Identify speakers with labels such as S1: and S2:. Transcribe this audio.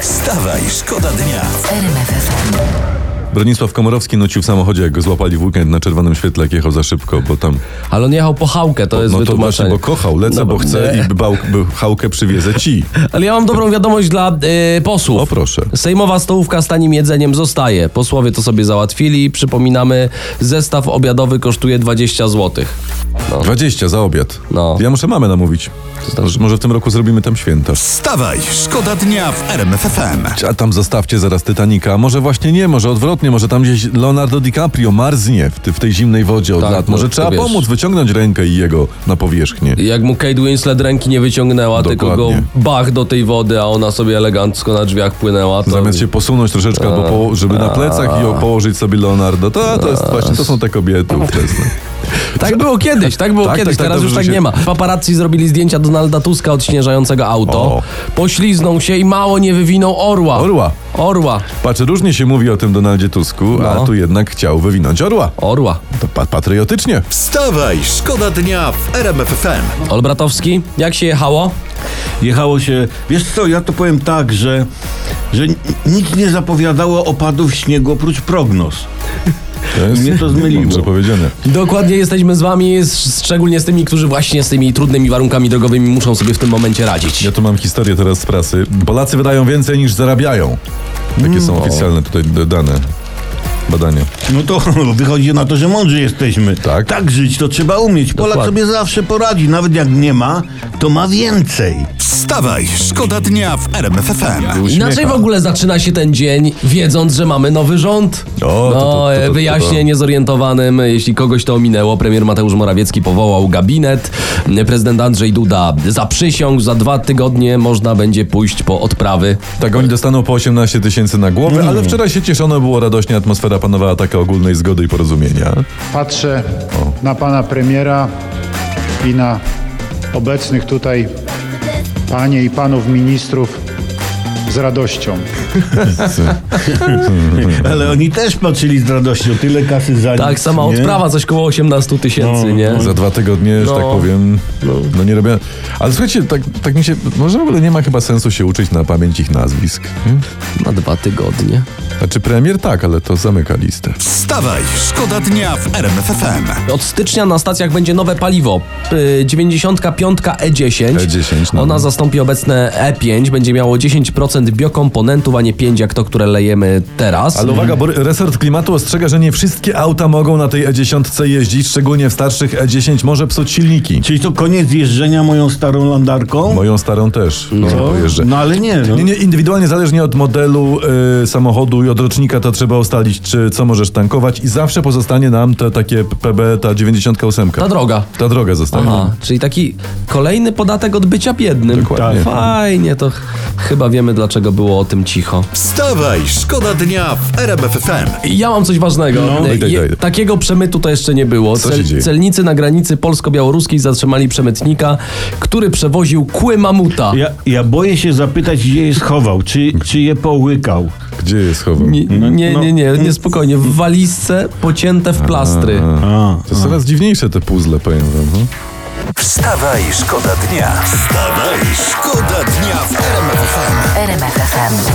S1: Wstawaj, szkoda dnia.
S2: Bronisław Komorowski nucił w samochodzie, jak go złapali w weekend na czerwonym świetle, jak jechał za szybko, bo tam...
S3: Ale on jechał po hałkę, to jest
S2: no to właśnie,
S3: wytłumaczenie.
S2: bo kochał, lecę,
S3: No,
S2: bo chcę
S3: nie.
S2: i bał, by chałkę przywiezę ci.
S3: Ale ja mam dobrą wiadomość dla y, posłów.
S2: O, proszę.
S3: Sejmowa stołówka z tanim jedzeniem zostaje. Posłowie to sobie załatwili. Przypominamy, zestaw obiadowy kosztuje 20 zł.
S2: 20 za obiad.
S3: No.
S2: Ja muszę mamę namówić. Może- Może w tym roku zrobimy tam święto.
S1: Wstawaj, szkoda dnia w RMFFM.
S2: A tam zostawcie zaraz Titanica. Może właśnie nie, może odwrotnie, może tam gdzieś Leonardo DiCaprio marznie w, ty, w tej zimnej wodzie od
S3: Tak,
S2: lat.
S3: no,
S2: Może
S3: to
S2: trzeba
S3: wiesz.
S2: pomóc wyciągnąć rękę i jego na powierzchnię.
S3: Jak mu Kate Winslet ręki nie wyciągnęła, tylko go
S2: Dokładnie.
S3: bach do tej wody, a ona sobie elegancko na drzwiach płynęła. To...
S2: Zamiast się posunąć troszeczkę, albo poło- żeby na plecach i o- położyć sobie Leonardo. To, to jest właśnie, to są te kobiety ówczesne.
S3: Tak było kiedyś, tak było
S2: Tak,
S3: kiedyś,
S2: tak, tak,
S3: teraz
S2: dobrze,
S3: już
S2: że
S3: tak
S2: się-
S3: nie ma. Paparazzi zrobili zdjęcia Donalda Tuska odśnieżającego auto.
S2: O.
S3: Pośliznął się i mało nie wywinął orła.
S2: Orła.
S3: Orła.
S2: Patrz, różnie się mówi o tym Donaldzie Tusku, a
S3: No.
S2: tu jednak chciał wywinąć orła.
S3: Orła.
S2: To pa- patriotycznie.
S1: Wstawaj, szkoda dnia w RMFFM.
S3: Olbratowski, jak się jechało?
S4: jechało się. Wiesz co, ja to powiem tak, że, że n- nic nie zapowiadało opadów śniegu oprócz prognoz.
S2: To jest-
S4: Mnie to zmyliło.
S2: Dobrze powiedziane.
S3: Dokładnie jesteśmy z wami, s- szczególnie z tymi, którzy właśnie z tymi trudnymi warunkami drogowymi muszą sobie w tym momencie radzić.
S2: Ja tu mam historię teraz z prasy. Polacy wydają więcej niż zarabiają. Takie są oficjalne tutaj d- dane. Badania.
S4: No to wychodzi na to, że mądrzy jesteśmy.
S2: Tak.
S4: tak żyć to trzeba umieć. Polak
S3: Dokładnie.
S4: sobie zawsze poradzi, nawet jak nie ma, to ma więcej.
S1: Wstawaj, szkoda dnia w RMFFM.
S2: Uśmiecha.
S3: Inaczej w ogóle zaczyna się ten dzień, wiedząc, że mamy nowy rząd.
S2: O, to, to, to, to,
S3: e,
S2: to, to.
S3: wyjaśnię niezorientowanym, jeśli kogoś to ominęło. Premier Mateusz Morawiecki powołał gabinet. Prezydent Andrzej Duda zaprzysiągł. Za dwa tygodnie można będzie pójść po odprawy.
S2: Tak, oni dostaną po 18 tysięcy na głowę, ale wczoraj się cieszono, było radośnie, atmosfera panowała taka ogólnej zgody i porozumienia.
S5: Patrzę na pana premiera i na obecnych tutaj panie i panów ministrów z radością.
S4: Ale oni też patrzyli z radością, tyle kasy za
S3: Tak,
S4: nic,
S3: sama
S4: nie?
S3: odprawa, coś koło 18
S2: No,
S3: tysięcy, nie?
S2: Za dwa tygodnie, że
S3: No.
S2: tak powiem, no, nie robię. Ale słuchajcie, tak, tak mi się, może w ogóle nie ma chyba sensu się uczyć na pamięć ich nazwisk. nie?
S3: Na dwa tygodnie.
S2: Znaczy premier tak, ale to zamyka listę.
S1: Wstawaj, szkoda dnia w RMFFM.
S3: Od stycznia na stacjach będzie nowe paliwo. Y, 95 E10.
S2: E10, no.
S3: Ona zastąpi obecne E5. Będzie miało 10% biokomponentów, a nie 5 jak to, które lejemy teraz.
S2: Ale uwaga, bo resort klimatu ostrzega, że nie wszystkie auta mogą na tej E10 jeździć, szczególnie w starszych E10 może psuć silniki.
S4: Czyli to koniec jeżdżenia moją starą landarką?
S2: Moją starą też, no.
S4: no,
S2: pojeżdżę.
S4: no ale nie, no.
S2: Nie, nie, indywidualnie zależnie od modelu y, samochodu i od rocznika to trzeba ustalić, czy co możesz tankować i zawsze pozostanie nam te takie PB, ta 98.
S3: Ta droga.
S2: Ta droga zostanie.
S3: Aha, czyli taki kolejny podatek od bycia biednym.
S2: Dokładnie.
S3: Tak. Fajnie, to ch- chyba wiemy, dlaczego było o tym cicho.
S1: Wstawaj, szkoda dnia w RMFFM.
S3: Ja mam coś ważnego.
S4: No.
S3: E,
S2: Daj, daj,
S3: je-
S2: daj.
S3: Takiego przemytu to jeszcze nie było.
S2: Co się dzieje?
S3: celnicy na granicy polsko-białoruskiej zatrzymali przemytnika, który przewoził kły mamuta.
S4: Ja, ja boję się zapytać, gdzie je schował, czy, czy je połykał.
S2: Gdzie je schował?
S3: Nie, nie, nie, nie, niespokojnie. W walizce pocięte w plastry.
S4: A.
S2: To jest coraz dziwniejsze te puzzle, powiem wam. No.
S1: Wstawaj, szkoda dnia. Wstawaj, szkoda dnia w RMFFM.
S6: RMFFM.